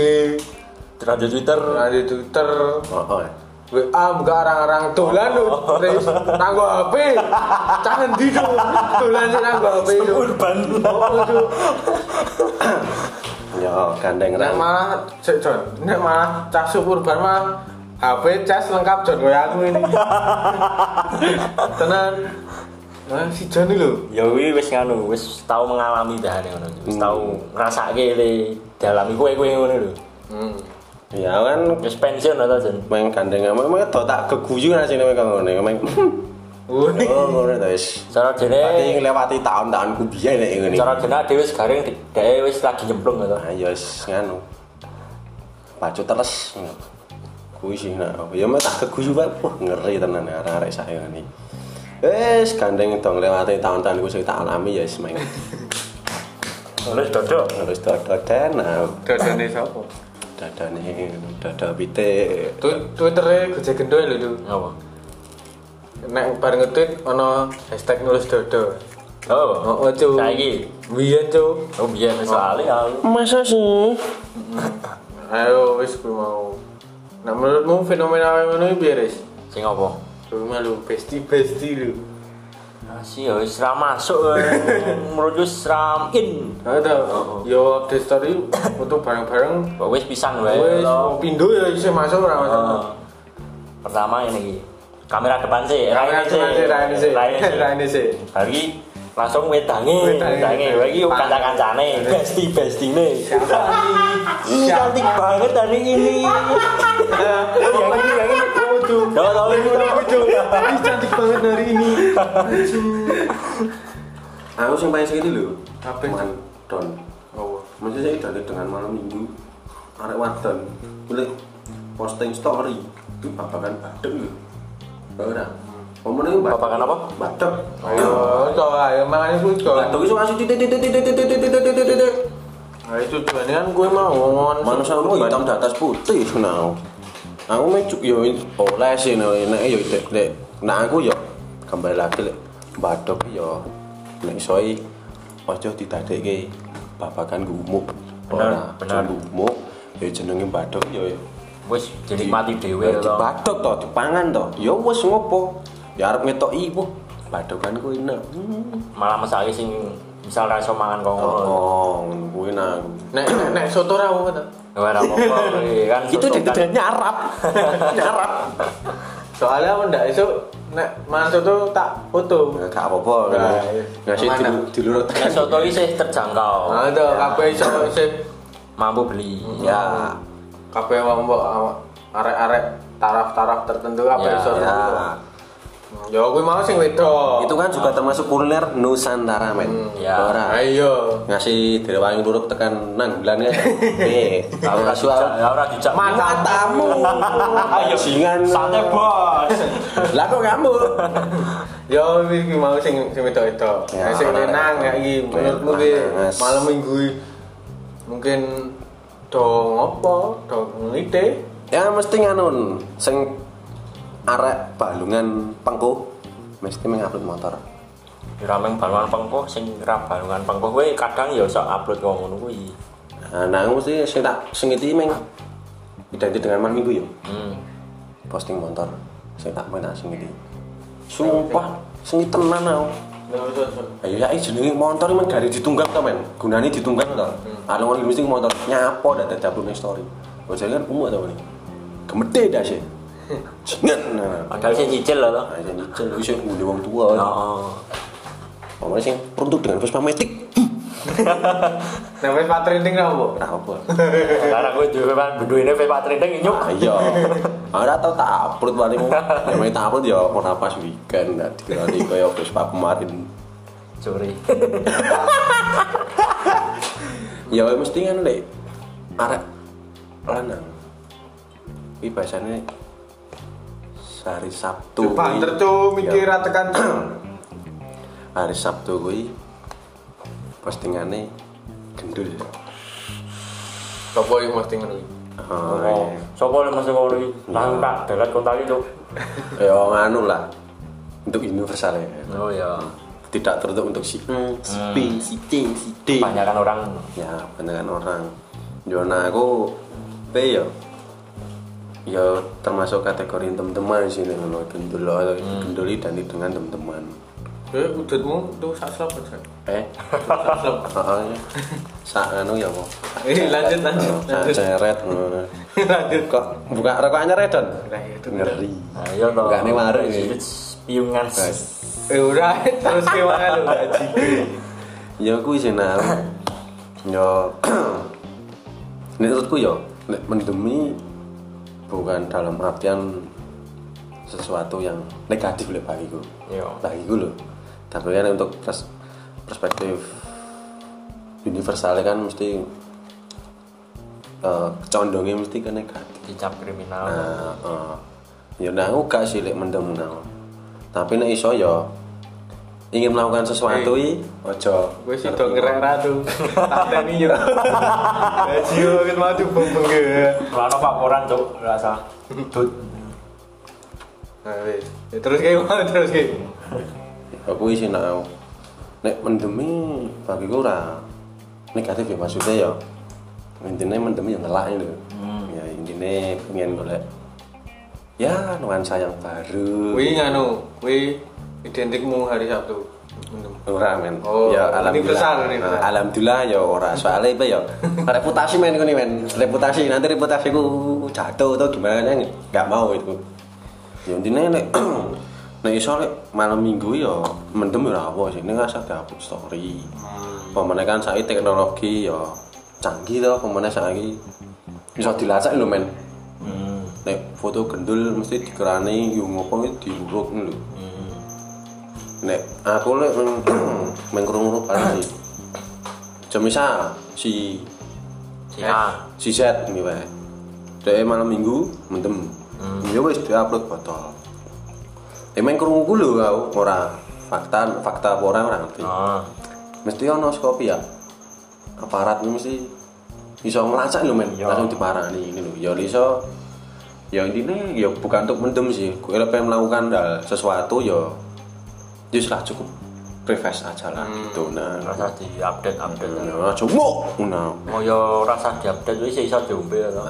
Speaker 3: Terus di Twitter,
Speaker 2: Nah, di Twitter
Speaker 1: Oh, oh.
Speaker 2: WA buka "Ah, arang-arang dolan lu Tris nanggo HP cangen di lu dolan sih nanggo HP lu
Speaker 3: urban.
Speaker 1: Yo, gandeng
Speaker 2: nek
Speaker 1: ra.
Speaker 2: malah cek Jon nek malah cas urban malah HP cas lengkap Jon kayak aku ini tenan nah, si Jon ini lho
Speaker 3: Ya wi wis nganu, wis tau mengalami dah ngono. Wis tau ngrasake le dalami kowe-kowe ngono lho.
Speaker 2: hmm.
Speaker 1: Ya kan
Speaker 3: Wis pensiun ta Jen.
Speaker 1: main gandeng emang emang to tak keguyu ra sini kok ngene. Main
Speaker 2: Wih.
Speaker 1: oh ngono ta wis.
Speaker 3: Cara
Speaker 1: Pati
Speaker 3: dene,
Speaker 1: nglewati tahun-tahunku biyen nek ngene.
Speaker 3: cara dene dhewe wis garing, dhewe wis lagi nyemplung ngono.
Speaker 1: ayo wis nganu pacu terus kuwi sih nak ya meh tak keguyu wae wah ngeri tenan arek-arek saya ini wis gandeng dong lewati tahun-tahun iku sing tak alami ya wis meng
Speaker 3: Wis dodo.
Speaker 1: terus dododan nah,
Speaker 2: dadane sapa
Speaker 1: dadane dada pitik
Speaker 2: Tu- Twitternya gejek gendul lho tuh
Speaker 3: Ngopo?
Speaker 2: nek bar nge-tweet ono hashtag nulis dodo
Speaker 3: Oh.
Speaker 2: oh cu
Speaker 3: Saiki.
Speaker 2: biyen cu
Speaker 3: Oh biyen wis ali aku.
Speaker 1: masa sih
Speaker 2: Ayo wis kuwi mau. Nah menurutmu fenomena yang ngono iki piye Riz?
Speaker 3: Sing opo?
Speaker 2: Kuwi malu besti besti lu.
Speaker 3: Masih ya wis ra masuk. Merujuk wis ra in.
Speaker 2: Ada ta? Nah, Yo update story foto bareng-bareng.
Speaker 3: Kok Wis pisang wae.
Speaker 2: Wis
Speaker 3: lho.
Speaker 2: pindo ya iso masuk ora
Speaker 3: Eh,
Speaker 2: masuk.
Speaker 3: Pertama ini iki. Kamera depan sih,
Speaker 2: Kamera
Speaker 3: raine sih.
Speaker 2: sih, raine sih,
Speaker 3: Raine sih.
Speaker 2: raine sih.
Speaker 3: Bagi langsung wedange,
Speaker 2: Wedange.
Speaker 3: wedange. Bagi
Speaker 2: Pan-
Speaker 3: kanca-kancane, besti-bestine.
Speaker 2: Siapa nih?
Speaker 3: Ini cantik banget dan ini ini.
Speaker 2: Iya,
Speaker 3: Yang ini, yang ini. Tahu tahu ini udah muncul.
Speaker 2: Iya, Ini cantik banget hari ini.
Speaker 1: aku sing paling segini lho
Speaker 2: Apa?
Speaker 1: Man, don
Speaker 2: Oh,
Speaker 1: maksud saya dari dengan malam minggu arek wadon boleh posting story itu babakan badem lho ora Omongnya itu
Speaker 3: Babakan kan apa?
Speaker 1: Badem.
Speaker 2: ayo, to ayo mangan kuwi to.
Speaker 1: Badem itu langsung titik titik titik titik titik titik titik titik.
Speaker 2: Ayo tujuane kan kuwi mau ngomong.
Speaker 1: Manusia itu hitam di atas putih now. Aku mecuk yo oleh sih nek nek yo nek nek aku yo kembali lagi lek badem yo nek soi ojo ditadekke babakan gumuk.
Speaker 3: Bener,
Speaker 1: Ora, ojo
Speaker 3: bener.
Speaker 1: Gumuk ya jenenge badhok ya
Speaker 3: wis dinikmati dhewe
Speaker 1: di
Speaker 3: to.
Speaker 1: badhok to dipangan to. Ya wis ngopo? Ya arep ngetoki ibu badhokanku enak. Hmm.
Speaker 3: Malah mesake sing misal ra iso mangan kok ngono.
Speaker 1: Oh, ngono kuwi nang.
Speaker 2: Nek nek- nek soto ra apa ta?
Speaker 3: Ora apa-apa kuwi kan.
Speaker 1: Itu
Speaker 3: tutupan.
Speaker 1: dituduh nyarap. nyarap.
Speaker 2: Soalnya aku ndak esuk nek mangan soto tak foto.
Speaker 1: Gak apa-apa.
Speaker 2: Nah, iya.
Speaker 1: Ngasih
Speaker 2: Kemana?
Speaker 1: dilu- dilurutkan.
Speaker 3: Nek soto iki sih terjangkau.
Speaker 2: Nah, itu kabeh iso isih
Speaker 3: Mampu beli.
Speaker 1: Ya.
Speaker 2: kabeh wong mbok awak- arek-arek taraf-taraf tertentu kabeh
Speaker 3: Ya,
Speaker 2: iso
Speaker 1: Ya.
Speaker 2: soto. Ya kuwi mau sing wedok.
Speaker 1: Itu kan juga termasuk kuliner Nusantara, men.
Speaker 3: Ya.
Speaker 1: Ora.
Speaker 2: Nah, Ayo.
Speaker 1: Ngasih dari wangi luruk tekan nang bulan ya. Eh, kalau kasual.
Speaker 3: Ya ora dijak.
Speaker 1: Matamu. Ayo singan.
Speaker 3: Sate bos.
Speaker 1: Lah kok kamu?
Speaker 2: Ya kuwi kuwi mau sing sing wedok-wedok.
Speaker 1: Ya,
Speaker 2: Nah, sing
Speaker 1: arek-arek.
Speaker 2: lenang ya iki menurutmu kuwi
Speaker 1: Mas.
Speaker 2: malam minggu iki mungkin do ngopo, do ngelite.
Speaker 1: Ya mesti nganun sing arek balungan pengko mesti mengupload motor.
Speaker 3: Rameng balungan pengko sing ra balungan pengko kuwi kadang ya iso upload kok ngono kuwi.
Speaker 1: Nah, nah aku mesti sing tak sengiti meng identik dengan malam minggu ya.
Speaker 3: Hmm.
Speaker 1: Posting motor. Sing tak main tak sengiti. Sumpah, sengit tenan aku. Ayo ya iki jenenge motor iki men gari ditunggak to men. Gunane ditunggak to. Anu ngono mesti motor nyapo dak tak upload story. Bojone kan umuk to men. Gemete dah sih. Jenget. Nah,
Speaker 3: Padahal sih cicil lho to.
Speaker 1: aja nicel wis ngene wong tua.
Speaker 3: Heeh.
Speaker 1: Pokoknya sing peruntuk dengan Vespa Matic.
Speaker 2: Nek wis patrinding ra opo?
Speaker 1: Nah, apa?
Speaker 3: Karena gue juga beduinnya Vespa Trinding nyuk.
Speaker 1: Ayo. Ah, Ora tau tak upload paling. Yang tak upload ya ora pas weekend dak dikirani kaya Vespa kemarin.
Speaker 3: Curi.
Speaker 1: Ya mesti kan lek arek lanang. Iki biasanya hari Sabtu.
Speaker 2: Banter tuh mikir
Speaker 1: Ya.
Speaker 2: ra tekan.
Speaker 1: Hari Sabtu kuwi postingane gendul.
Speaker 2: Sopo iki mesti ngono iki?
Speaker 1: Oh.
Speaker 3: Sopo le mesti ngono iki? Langsung tak delet kontak itu.
Speaker 1: Ya nganu lah. Untuk universal ya.
Speaker 3: Oh ya.
Speaker 1: tidak tertutup untuk si E, si B, si C, si D.
Speaker 3: Kebanyakan orang
Speaker 1: Ya, pandangan orang. Jona aku P ya. Ya termasuk kategori teman-teman sih nih kalau gendul atau
Speaker 2: Hmm.
Speaker 1: genduli dan itu dengan teman-teman.
Speaker 2: Eh, udutmu tuh sak slop sak.
Speaker 1: Eh,
Speaker 2: Sak slop.
Speaker 1: heeh. Sa anu ya kok.
Speaker 2: Eh, lanjut lanjut.
Speaker 1: Sa
Speaker 2: lanjut.
Speaker 1: ceret. ngono. Kok buka rokok anyar Don?
Speaker 2: Nah, itu.
Speaker 1: Ngeri.
Speaker 3: Ayo to.
Speaker 1: Bukannya warung ya.
Speaker 3: Piungan.
Speaker 2: Eh, udah terus gimana lu gaji?
Speaker 1: ya aku sih nah ya menurutku ya nek mendemi bukan dalam artian sesuatu yang negatif oleh bagiku
Speaker 3: Iya.
Speaker 1: bagiku loh tapi kan untuk pers- perspektif universalnya kan mesti eh condongnya mesti ke negatif
Speaker 3: Dicap kriminal.
Speaker 1: Nah, eh, ya nah aku gak sih lek mendem nah. Tapi nek iso ya ingin melakukan sesuatu i ojo.
Speaker 2: Gue sih dong ngerek ratu. Tanteni yo. Gaji yo kan mau coba bengke.
Speaker 3: Kalau laporan cuk, rasa. Dut.
Speaker 2: Nah, wis. Ya, terus kayak gimana terus kayak.
Speaker 1: Aku sih nah aku. Nek mendemi bagi ora negatif ya maksudnya ya. Intinya mendemi yang ngelak lho. Ya intinya pengen golek ya nuansa yang baru.
Speaker 2: Kuwi nganu, kuwi identikmu hari Sabtu. Mendem.
Speaker 1: ora men
Speaker 2: Oh,
Speaker 1: ya alhamdulillah
Speaker 2: universal, universal.
Speaker 1: Nah, alhamdulillah ya ora soalnya apa ya reputasi men ini men reputasi nanti reputasiku jatuh atau gimana kan nggak mau itu ya intinya nek nek iso lek malam minggu ya mendem ora apa sih ini nggak dihapus story pemene kan saiki teknologi ya canggih to pemene saiki iso dilacak lho men
Speaker 3: Hmm.
Speaker 1: nek foto gendul mesti dikerani ya yo ngopo iki diuruk lho nek aku lek meng- mengkrungu barang sih jam misal si
Speaker 3: Si A.
Speaker 1: si Z ini wae Dek malam minggu mendem
Speaker 3: Hmm.
Speaker 1: ya wis diupload botol ya mengkrungu lho aku ora fakta fakta apa ora ora ngerti
Speaker 3: Ah.
Speaker 1: mesti ono skopi ya aparat ini mesti iso ngelacak lho men
Speaker 3: Iya.
Speaker 1: langsung diparani ini lho ya iso ya intinya ya bukan untuk mendem sih gue pengen melakukan hal sesuatu ya ya sudah cukup refresh aja lah
Speaker 3: Hmm.
Speaker 1: gitu nah.
Speaker 3: rasa di update update
Speaker 1: Nah, cuma nah.
Speaker 3: mau yo rasa di update wis iso diombe ya, toh.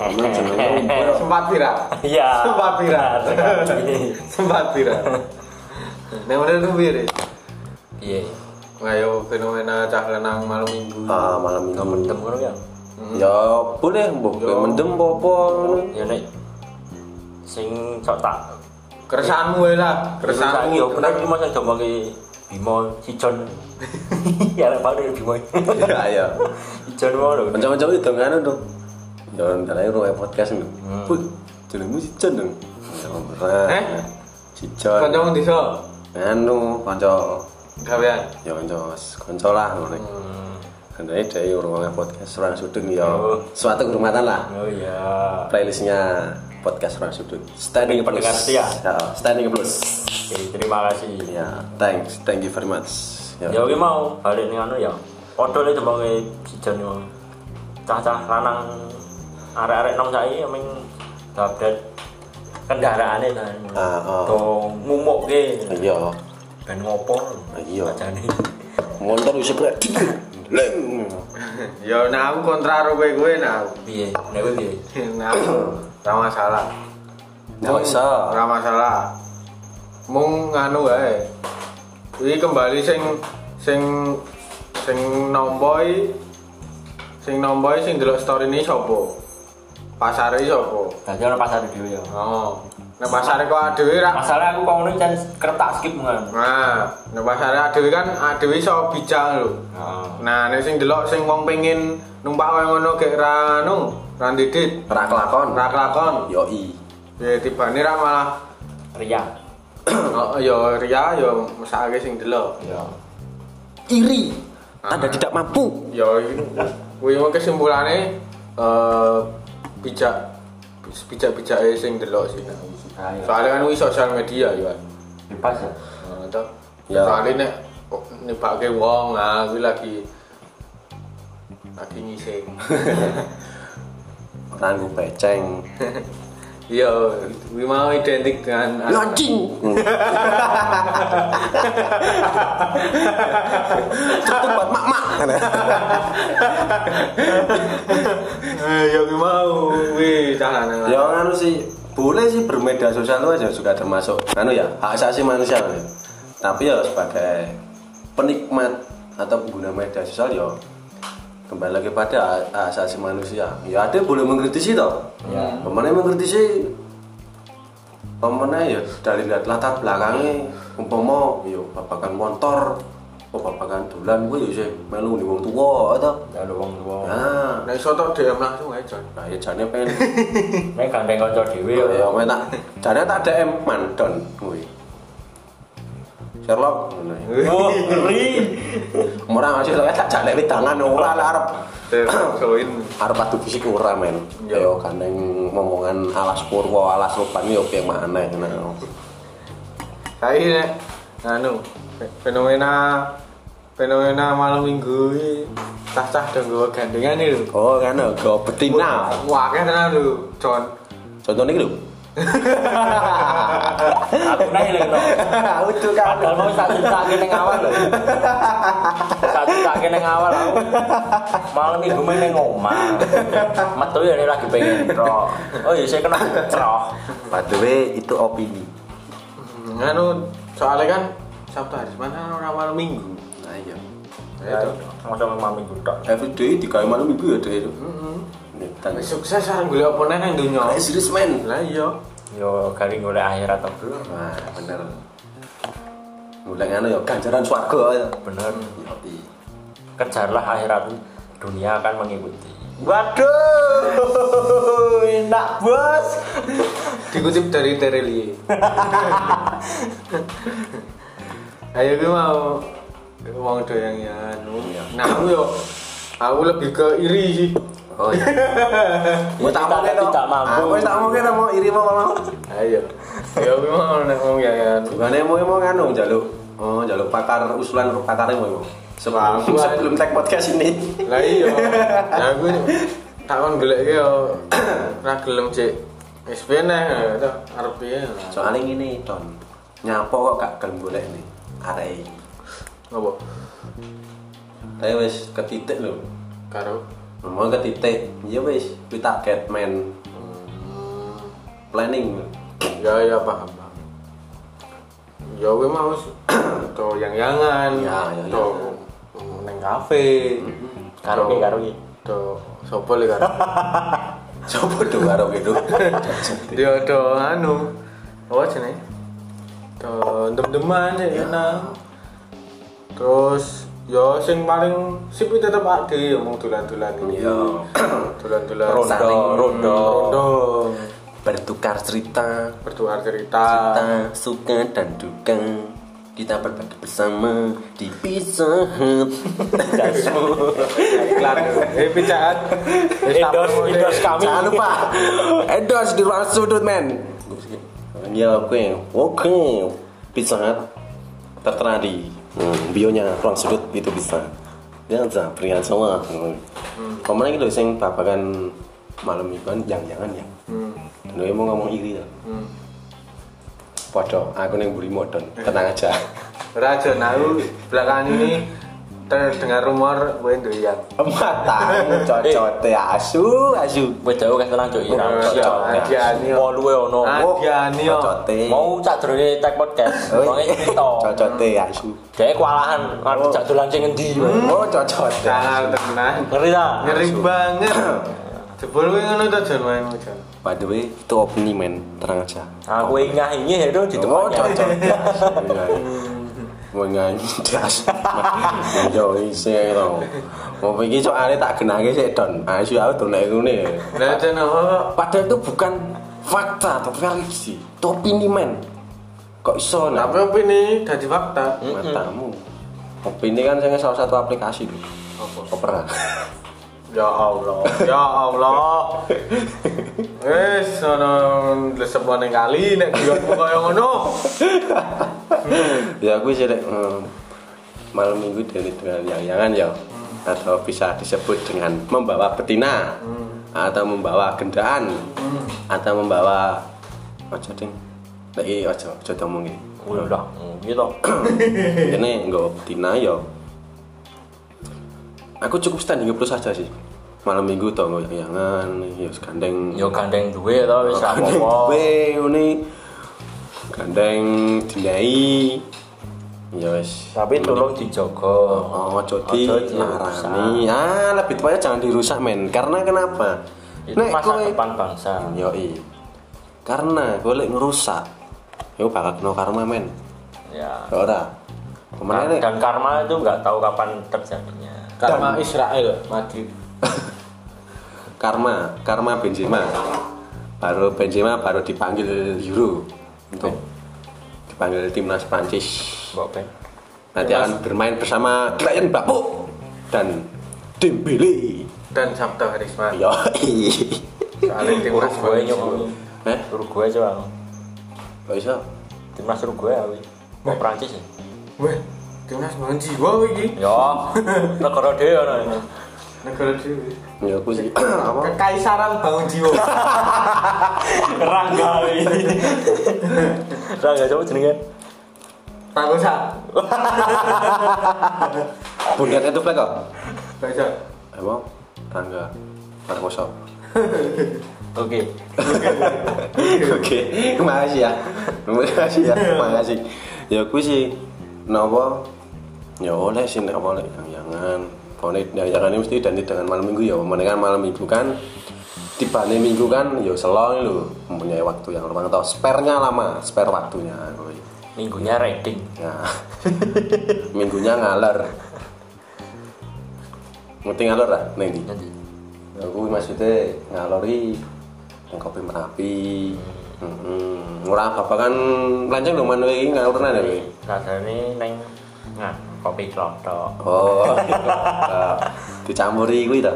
Speaker 1: Karena jenenge umpel.
Speaker 2: sempat viral
Speaker 3: Eh. Iya.
Speaker 2: sempat viral
Speaker 3: Benar sekali.
Speaker 2: sempat viral nah bener tuh Fir
Speaker 3: iya
Speaker 2: ngayo fenomena cah lenang malam minggu
Speaker 1: Ah, malam minggu
Speaker 3: mendem ngono ya
Speaker 1: Ya boleh mbok kowe mendem apa ngono.
Speaker 3: ya nek sing sok tak ya,
Speaker 2: keresahanmu wae lah keresahanmu
Speaker 3: yo benar iki masa jombang ki Bimo si John ya lek paling Bimo
Speaker 1: Ya ya.
Speaker 3: si John mau lho
Speaker 1: Kanca-kanca itu ngono dong. Ya ndalane roe podcast lho. Wih, jenengmu si Jon dong.
Speaker 2: Eh?
Speaker 1: Si Jon.
Speaker 2: kancamu diso
Speaker 1: Anu, kanca
Speaker 2: gawean
Speaker 1: ya kanca kanca lah ngono. Kan, Andai dari rumah podcast orang sudut ya
Speaker 3: Oh.
Speaker 1: suatu kehormatan lah
Speaker 3: oh iya
Speaker 1: playlistnya podcast orang sudut standing plus
Speaker 3: Pendengar setia.
Speaker 1: Ya, standing plus
Speaker 3: oke terima kasih
Speaker 1: ya thanks thank you very much ya
Speaker 3: ya oke mau balik nih anu ya odol itu mau si John mau e cah-cah lanang arek-arek nong saya emang update kendaraannya kan
Speaker 1: Ah, ah.
Speaker 3: tuh ngumuk ke
Speaker 1: iya
Speaker 3: ben ngopo
Speaker 1: Ah, Iya.
Speaker 3: aja nih
Speaker 1: motor bisa kena leng
Speaker 2: ya nah aku kontra karo kowe kowe nah aku.
Speaker 3: piye nek kowe piye
Speaker 2: nah aku ra masalah
Speaker 1: nggak usah
Speaker 2: ra masalah mung nganu wae iki kembali sing sing sing nompo iki sing nompo iki sing delok story ini sapa pasare iki sapa
Speaker 3: dadi ana pasar dhewe ya
Speaker 2: oh nek pasare kok adewe ra
Speaker 3: masalah aku kok ngono jan kerep tak skip ngono
Speaker 2: Nah, nek pasare adewe kan adewe iso bijak lho.
Speaker 3: Ah,
Speaker 2: Nah, nek sing delok sing wong pengen numpak kaya ngono gek ra nu, ra didit,
Speaker 1: rak lakon
Speaker 2: ra kelakon.
Speaker 1: yoi
Speaker 2: Ya tibane ra malah
Speaker 3: ria
Speaker 2: oh, ya ria ya mesake sing delok.
Speaker 3: ya
Speaker 1: iri anda tidak mampu
Speaker 2: Ya kuwi mung kesimpulane eh bijak bijak-bijake sing delok sih. nah.
Speaker 3: ayo
Speaker 2: Soalnya kan kuwi sosial media ya. Wan.
Speaker 3: bebas ya
Speaker 2: Nah, toh.
Speaker 1: Ya.
Speaker 2: Soalnya nek kok nibake wong, nah kuwi lagi lagi ngising.
Speaker 1: ranggu peceng
Speaker 2: Iya, kuwi mau identik dengan
Speaker 1: anjing tutup buat mak mak
Speaker 2: Eh, ya kuwi mau kuwi tahanan.
Speaker 1: ya anu sih boleh sih bermedia sosial itu aja juga termasuk anu ya hak asasi manusia kan ya. tapi ya sebagai penikmat atau pengguna media sosial ya kembali lagi pada hak asasi manusia ya ada yang boleh mengkritisi toh
Speaker 3: Ya.
Speaker 1: Pemenang yang mengkritisi pemenang ya dari lihat latar belakangnya umpama ya, yo babakan motor oh babakan dolan gue ya sih melu nih wong tua atau
Speaker 3: ya lho wong tuwa
Speaker 1: nah
Speaker 2: Nek iso tok DM langsung ae, Jon.
Speaker 1: nah ya jane pengen
Speaker 3: nek gandeng kanca dhewe
Speaker 1: Oh, Iya,
Speaker 3: ya
Speaker 1: ya, main tak. Jane tak DM mandon kuwi. Sherlock ngono ya.
Speaker 3: wah ngeri
Speaker 1: Ora masih lek tak jaleki tangan ora lek arep
Speaker 2: Soin.
Speaker 1: arep adu fisik ora men.
Speaker 2: Iya.
Speaker 1: Ya kandeng ngomongan alas purwa, alas rupan yo piye maneh ngono.
Speaker 2: Saiki nek anu fe- fenomena fenomena malam minggu iki cah-cah do nggawa gandengan iki lho.
Speaker 1: Oh, ngono go betina.
Speaker 2: Wah, akeh tenan lho, Jon.
Speaker 1: Contohnya iki lho.
Speaker 3: aku naik lho
Speaker 1: Udah
Speaker 3: padahal mau satu sakit ning awal lho satu sakit ning awal aku malam minggu main ning omah metu ya ini lagi pengen roh oh iya saya kena ceroh
Speaker 1: By the way, itu opini.
Speaker 2: Hmm, Anu soalnya kan Sabtu hari mana ora malam minggu.
Speaker 1: Nah, iya.
Speaker 2: Ya itu.
Speaker 3: masa malam minggu tok
Speaker 1: Everyday digawe malam minggu ya, Dek.
Speaker 2: Heeh.
Speaker 1: Nek tangis.
Speaker 2: Sukses arep golek apa neh nang donya.
Speaker 1: Nah, serius men.
Speaker 2: Lah iya.
Speaker 3: yo garing golek akhirat atau belum
Speaker 1: Wah, Nah, bener. Mulai ngono ya ganjaran swarga ya.
Speaker 3: bener
Speaker 1: Yoi.
Speaker 3: kejarlah akhirat dunia akan mengikuti
Speaker 1: Waduh, enak bos.
Speaker 2: Dikutip dari Terelie. Ayo gue mau mau doyan ya anu. Nah aku yo aku lebih ke iri sih.
Speaker 1: Oh iya. Gue tak mau
Speaker 3: Tidak- tidak mampu.
Speaker 1: Gue tak mau kita mau iri mau mau.
Speaker 2: Ayo. Ayo gue mau nek mau ya anu.
Speaker 1: Bukannya mau mau nganu jaluk. Oh, jaluk pakar usulan pakarnya mau mau. Sebelum
Speaker 2: Usulan.
Speaker 1: sebelum tag podcast ini.
Speaker 2: Lah iya. Nah aku tak kon golek ki yo ra gelem cek wis peneh to arep piye.
Speaker 1: Soalnya gini, Don. Nyapa kok gak gelem golek nih. arek iki.
Speaker 2: Apa?
Speaker 1: Tapi wis ketitik lho.
Speaker 2: Karo
Speaker 1: Mau ketitik. Ya wis, kuwi target men planning.
Speaker 2: ya ya paham paham. Ya gue mau to yang-yangan,
Speaker 1: Ya, ya,
Speaker 2: to neng kafe,
Speaker 3: Karaoke, karaoke.
Speaker 2: to sopo le karo.
Speaker 1: Coba dong karo gitu.
Speaker 2: Dia do anu. Apa jenenge? Do dem-deman ya enak. Terus ya sing paling sip itu tetep ade ngomong dolan-dolan iki.
Speaker 1: Ya.
Speaker 2: Dolan-dolan
Speaker 1: Rondo, rondo,
Speaker 2: rondo
Speaker 1: bertukar cerita,
Speaker 2: bertukar cerita.
Speaker 1: kita suka dan duka. Kita berbagi bersama di Pizza Hut.
Speaker 2: Iklan. Eh pijakan. Wis tak
Speaker 3: Endorse-
Speaker 2: promosi.
Speaker 3: endorse kami.
Speaker 1: Jangan lupa endorse di ruang sudut men. Ya oke, oke. Pizza Hut tertera di hmm, bionya ruang sudut itu bisa. Jangan jangan peringan semua. Hmm. Kemarin gitu sing babakan malam itu kan jangan-jangan ya. Dan dia mau ngomong iri ya.
Speaker 2: Hmm.
Speaker 1: Podo, aku neng buri modon, tenang aja.
Speaker 2: Raja Nau belakangan ini terdengar rumor ya. gue doyan.
Speaker 1: Mata, cocot ya asu, asu.
Speaker 3: Wedok kan tenang cuk ira.
Speaker 2: Oh, iya. Adiani, yo.
Speaker 3: Wolu e ono.
Speaker 2: Ah, Adiani, yo.
Speaker 1: Cocote.
Speaker 3: Mau cak durunge tag podcast.
Speaker 1: Oh,
Speaker 3: Wong
Speaker 1: iya.
Speaker 3: e cerita.
Speaker 1: cocote ya asu.
Speaker 3: Dhewe kewalahan arep cak dolan sing endi.
Speaker 1: Oh, cocot.
Speaker 2: Sangat tenang.
Speaker 3: Ngeri ta?
Speaker 2: Ngeri banget. Jebul gue ngono tuh John main John.
Speaker 1: By the way, itu opening men, terang aja.
Speaker 3: Aku ingah ingih itu di
Speaker 1: Oh,
Speaker 3: depannya.
Speaker 1: cocot. Mau nyanyi das. Yo isi to. Mau pikir soalnya tak genangi sik don. Asu aku tuh nek ngene.
Speaker 2: Nah John apa kok?
Speaker 1: Padahal itu bukan fakta atau reality. Itu opini men. Kok iso nah?
Speaker 2: Tapi opini dari fakta.
Speaker 1: matamu. Opini kan saya salah satu aplikasi tuh. Opera.
Speaker 2: Ya Allah, ya Allah. Wes ono lesep ning kali nek guyonmu kaya ngono.
Speaker 1: ya aku sih Dek, eh, malam minggu dari dengan yang-yangan ya atau bisa disebut dengan membawa betina
Speaker 3: Hmm.
Speaker 1: atau membawa gendaan atau membawa ojo ding lagi ojo ojo ngomong ini
Speaker 3: Udah, gitu.
Speaker 1: ini nggak betina ya aku cukup standing terus saja sih malam minggu tau nggak yang-yangan ya gandeng
Speaker 3: Yo gandeng duwe to wis gak
Speaker 1: gandeng
Speaker 3: apa-apa.
Speaker 1: duwe ngene gandeng dinyai ya wis
Speaker 3: Tapi tolong dijogo.
Speaker 1: Oh, ojo
Speaker 3: Ojo
Speaker 1: dilarani. Ah, lebih tepatnya jangan dirusak, men. Karena kenapa?
Speaker 3: Itu masa
Speaker 1: kowe-
Speaker 3: depan bangsa.
Speaker 1: Yoi. Karena gue lek ngerusak, yo bakal kena karma, men.
Speaker 3: Ya.
Speaker 1: Ora. Kemana nih?
Speaker 3: Dan karma itu nggak tahu kapan terjadinya.
Speaker 2: Karma Israel Madrid.
Speaker 1: Karma, karma Benzema. Baru Benzema baru dipanggil Euro untuk dipanggil timnas Prancis.
Speaker 3: Mbok Ben.
Speaker 1: Nanti akan bermain bersama Brian Bapu dan Dembele.
Speaker 2: dan Sabta Harisman.
Speaker 1: Yoi.
Speaker 2: Soalnya timnas
Speaker 3: Uruguay
Speaker 2: bagus.
Speaker 3: nyokoni.
Speaker 1: Eh,
Speaker 3: Uruguay coba. aku.
Speaker 1: kok iso?
Speaker 3: Timnas Uruguay aku. Mau Prancis ya.
Speaker 2: Weh, timnas bangun jiwa kowe iki.
Speaker 3: Ya, negara dhewe ono. ya.
Speaker 2: Negara dhewe.
Speaker 1: Ya aku sih apa?
Speaker 2: Kekaisaran bangun jiwa.
Speaker 3: Rangga. ini. Rangga coba jenenge.
Speaker 2: Prakosa.
Speaker 1: Bunda itu flag kok?
Speaker 2: Baca.
Speaker 1: oh? Emang tangga perkosa.
Speaker 3: Oke.
Speaker 1: Oke, makasih ya. Makasih ya, makasih. Ya aku sih nopo ya oleh sih nek apa lek jangan konek ya jangan ini mesti dan dengan malam minggu ya mendingan malam minggu kan tiba minggu kan ya selong lho mempunyai waktu yang luang atau sparenya lama spare waktunya kuy.
Speaker 3: Minggunya reading.
Speaker 1: ya minggunya ngalor ngerti ngalor lah nih
Speaker 3: Nanti.
Speaker 1: Ya kuwi maksudnya ngalori nang kopi Merapi. Heeh. Ora babakan lanceng lho manuk iki ngalorna ya kowe.
Speaker 3: Rasane neng ngan kopi klotok.
Speaker 1: Oh. eh, dicampuri kuwi ta.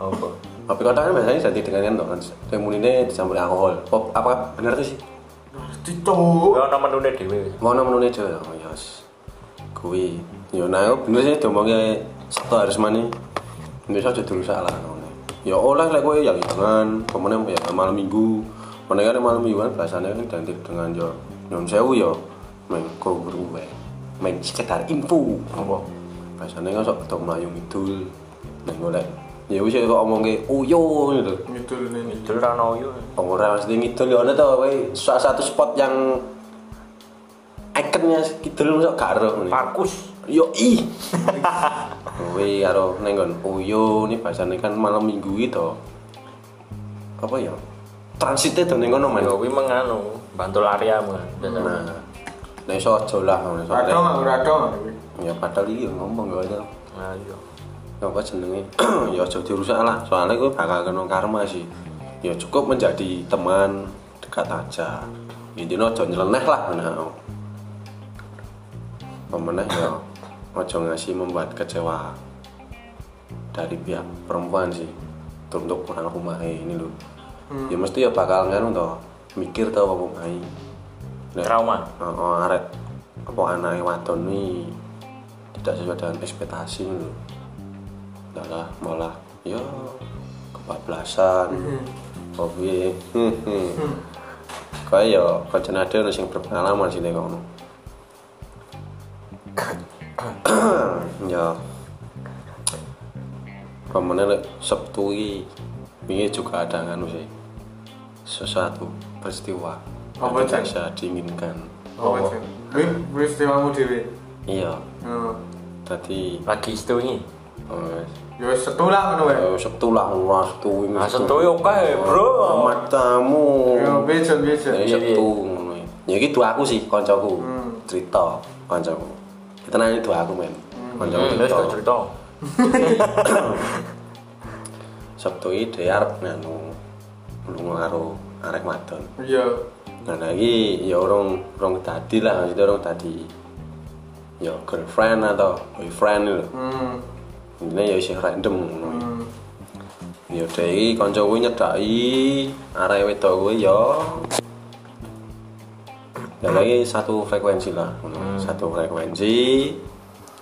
Speaker 3: Opo?
Speaker 1: Kopi kotak kan biasanya jadi dengan kan to. Temunine dicampuri alkohol. Pop, apa bener tuh sih?
Speaker 2: Dicuk.
Speaker 3: Ono menune dhewe.
Speaker 1: Mau nang menune jo ya. Oh, Yes. Kuwi. Yo nah aku bener sih domongnya Sabtu harus mani. Indonesia aja dulu salah ngono. Ya oleh lek kowe ya jangan pemene ya malam Minggu. Menengah malam Minggu kan biasanya kan identik dengan yo nyon sewu yo mengko buru wae. main sekedar info
Speaker 3: Apa?
Speaker 1: biasanya kan sok ketemu melayu ngidul nah golek ya wis kok omongke uyo gitu
Speaker 2: ngidul ini
Speaker 3: Dulu rano yo.
Speaker 1: Ora mesti ngidul ya ono to kowe salah satu spot yang ikonnya kidul masuk gak ero ngene.
Speaker 3: Parkus.
Speaker 1: Yo i. Kowe karo ning nggon Uyo ini bahasane kan malam Minggu iki to. Apa ya? Transite to ning kono man.
Speaker 3: Yo kuwi menganu bantul area mun.
Speaker 1: Nah. Nek iso aja lah ngono iso.
Speaker 2: rado nggak rado nggak?
Speaker 1: Ya padahal iki ya ngomong gak aja.
Speaker 3: Nah iya.
Speaker 1: apa jenenge ya aja dirusak lah soalnya gue bakal kena karma sih ya cukup menjadi teman dekat aja intinya aja nyeleneh lah nah pemenang ya aja ngasih membuat kecewa dari pihak perempuan sih untuk anak rumah eh, ini loh ya mesti ya bakal nganu toh mikir tau apa mai Nek-
Speaker 3: Trauma.
Speaker 1: Oh, oh, arek apa anake wadon ni tidak sesuai dengan ekspektasi lho. Malah malah ya kebablasan. Oh, Hobi. Kaya ya kancane ade ono sing berpengalaman sih nek ngono. ya. Pemene lek Sabtu iki wingi juga ada nganu sih. Sesuatu peristiwa yang
Speaker 2: Apa,
Speaker 1: tidak
Speaker 2: Chan?
Speaker 1: saya diinginkan.
Speaker 2: Oh,
Speaker 3: Apa?
Speaker 2: Jen. Wih, peristiwamu dewi.
Speaker 1: Iya,
Speaker 2: Hmm.
Speaker 1: tadi
Speaker 3: Lagi itu ini.
Speaker 1: eh,
Speaker 2: Yo setulah ngono wae.
Speaker 1: eh, Sabtu lah ora Sabtu ini.
Speaker 3: Nah, sentuh yo kae, Ah, Bro.
Speaker 1: Matamu.
Speaker 2: Yo bejen bejen.
Speaker 1: Ya
Speaker 3: Iya, iya.
Speaker 1: Sabtu ngono. Ya iki dua aku sih kancaku.
Speaker 2: Hmm.
Speaker 1: Cerita kancaku. Kita nanya dua aku men. Kancaku
Speaker 3: Hmm, Terus
Speaker 1: cerita.
Speaker 3: tak cerita.
Speaker 1: Sabtu iki dhewe arep nganu lunga karo arek wadon.
Speaker 2: Iya.
Speaker 1: Nah lagi ya orang orang tadi lah maksudnya orang tadi ya girlfriend atau boyfriend lho.
Speaker 2: Hmm.
Speaker 1: Ini ya sih random ngono.
Speaker 2: Hmm.
Speaker 1: Ya dei kanca kuwi nyedaki arek wedok kuwi ya. Dan lagi satu frekuensi lah, ngono. satu frekuensi.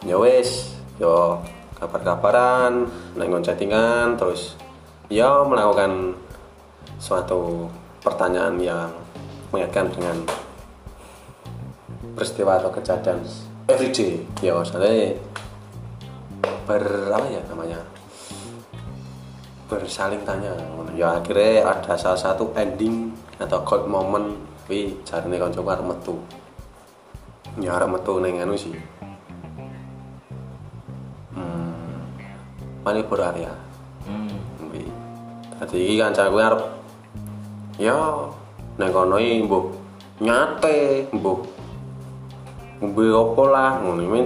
Speaker 1: Ya wis, yo kabar-kabaran, nenggon chattingan terus ya melakukan suatu pertanyaan yang mengaitkan dengan peristiwa atau kejadian everyday ya misalnya ber apa ya namanya bersaling tanya ngono. ya akhirnya ada salah satu ending atau gold moment wi jarine kanca arep metu ya arep metu ning anu sih hmm Malioboro area
Speaker 3: Hmm.
Speaker 1: wi tadi iki kanca kuwi arep ya ning kono iki mbuh nyate mbuh ngombe opo lah ngono iki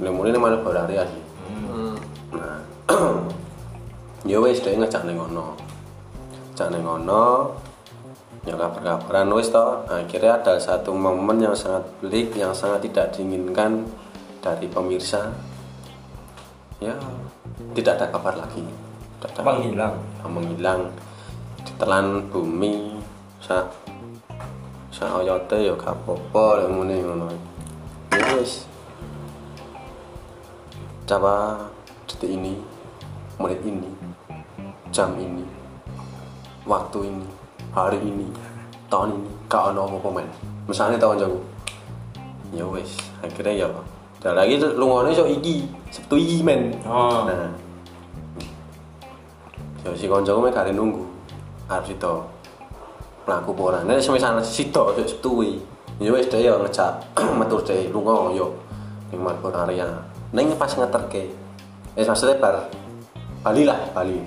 Speaker 1: lemune ning Malioboro area sih
Speaker 2: Hmm.
Speaker 1: Nah, ya wis dhek ngejak ning ngono. Ngejak ning ngono ya kabar-kabaran wis to. Akhirnya ada satu momen yang sangat pelik yang sangat tidak diinginkan dari pemirsa. Ya, tidak ada kabar lagi. Tidak ada
Speaker 3: Menghilang.
Speaker 1: yang menghilang ditelan bumi sa sa oyote ya gak apa-apa lek ngene ngono Ya wis coba detik ini menit ini jam ini waktu ini hari ini tahun ini gak ono apa-apa men misalnya tahun jago ya wis akhirnya ya dan lagi lu ngono iso iki sabtu iki men
Speaker 3: Oh.
Speaker 1: nah Ya si koncoku mek gak nunggu. Arep sito. Mlaku apa ora. Nek semisal sito yo setuwi. Ya wis dhewe yo ngejak metu dhewe lunga yo ning marbon area. Ning pas ngeterke. Wis maksudnya bar Bali lah, Bali.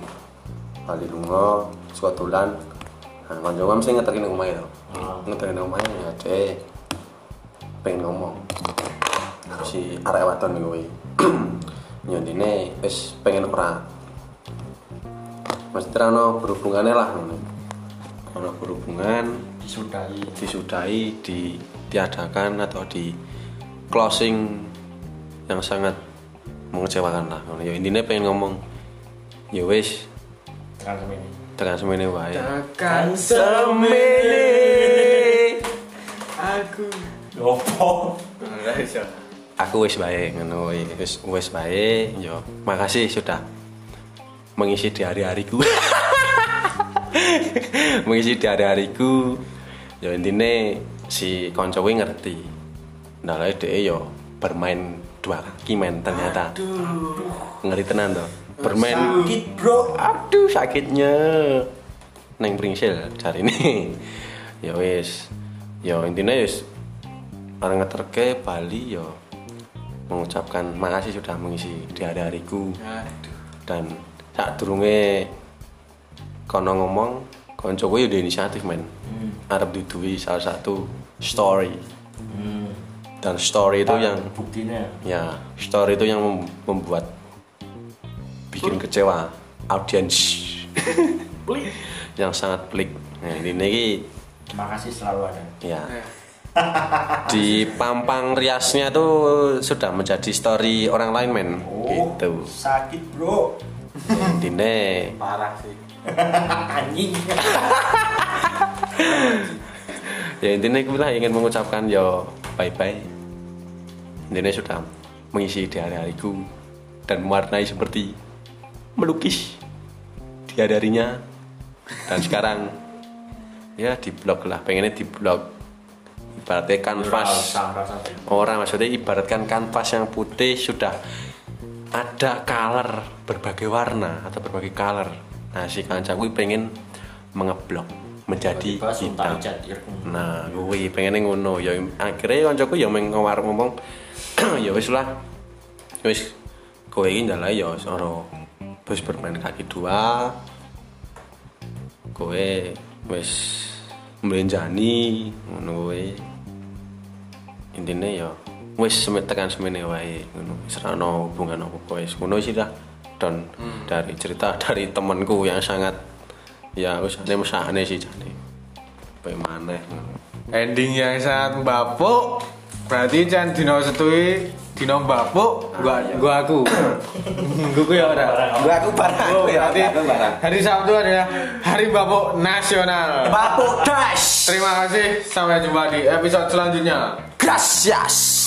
Speaker 1: Bali lunga suka dolan. Nah, koncoku mesti ngeterke ning omahe to. Ngeterke ning omahe ya dhewe pengen ngomong. Si arek wadon kuwi. Nyondine wis pengen ora Mesti terano berhubungannya lah ngono. Ono berhubungan
Speaker 3: Disudahi.
Speaker 1: disudahi, ditiadakan atau di closing yang sangat mengecewakan lah. ngono. Ya intinya pengen ngomong ya wis
Speaker 3: Terus ini.
Speaker 1: tekan semene wae.
Speaker 2: Tekan semene aku.
Speaker 3: Opo?
Speaker 2: Ora iso.
Speaker 1: Aku wis baik ngono wae. wis wis baik ya. Makasih sudah mengisi di hari-hariku. mengisi di hari-hariku. Ya intine si kanca kuwi ngerti. Nah, lha dhek yo bermain dua kaki men ternyata ngeri tenan toh bermain
Speaker 3: sakit bro
Speaker 1: aduh sakitnya neng pringsil cari ini ya wis ya intinya wis orang ngeterke Bali ya mengucapkan makasih sudah mengisi di hari-hariku
Speaker 2: Aduh.
Speaker 1: dan saat durunge kono ngomong koncoku ya di inisiatif men Arab didui salah satu story dan story itu yang
Speaker 3: buktinya
Speaker 1: ya story itu yang mem- membuat bikin kecewa audiens yang sangat pelik nah ini ini
Speaker 3: makasih selalu ada
Speaker 1: ya di pampang riasnya tuh sudah menjadi story orang lain men
Speaker 3: oh
Speaker 1: gitu Nah,
Speaker 3: sakit bro
Speaker 1: intinya
Speaker 2: Parah sih.
Speaker 3: anjing
Speaker 1: ya intinya aku lah ingin mengucapkan ya bye bye intinya sudah mengisi di hari-hariku dan mewarnai seperti melukis di hari-harinya dan sekarang ya di blog lah pengennya di blog ibaratnya kanvas
Speaker 3: Rasa, rasa.
Speaker 1: orang maksudnya ibaratkan kanvas yang putih sudah ada color berbagai warna atau berbagai color nah si kancaku pengen mengeblok menjadi
Speaker 3: tiba
Speaker 1: hitam
Speaker 3: suntai jatir
Speaker 1: Nah, kuwi pengen ngono ya akhirnya kancaku ya meng warung ngomong ya wis lah. Wis kowe iki ndalae ya ora wis bermain kaki dua. Kowe wis mbenjani ngono kowe. Intine ya wis semet tekan semene wae ngono. Wis ra ono hubungan apa-apa wis ngono sih dah. Dan dari cerita dari temanku yang sangat ya wis ane mesane sih jane. Pemane.
Speaker 2: Ending yang sangat mbapuk. Berarti can dino setui dino mbapuk gua gua aku. gua ku ya ora.
Speaker 4: Gua aku barang.
Speaker 2: Oh,
Speaker 4: Gua
Speaker 2: berarti
Speaker 4: aku barang.
Speaker 2: hari Sabtu adalah hari mbapuk nasional.
Speaker 4: Bapuk das.
Speaker 2: Terima kasih, sampai jumpa di episode selanjutnya.
Speaker 4: Gracias.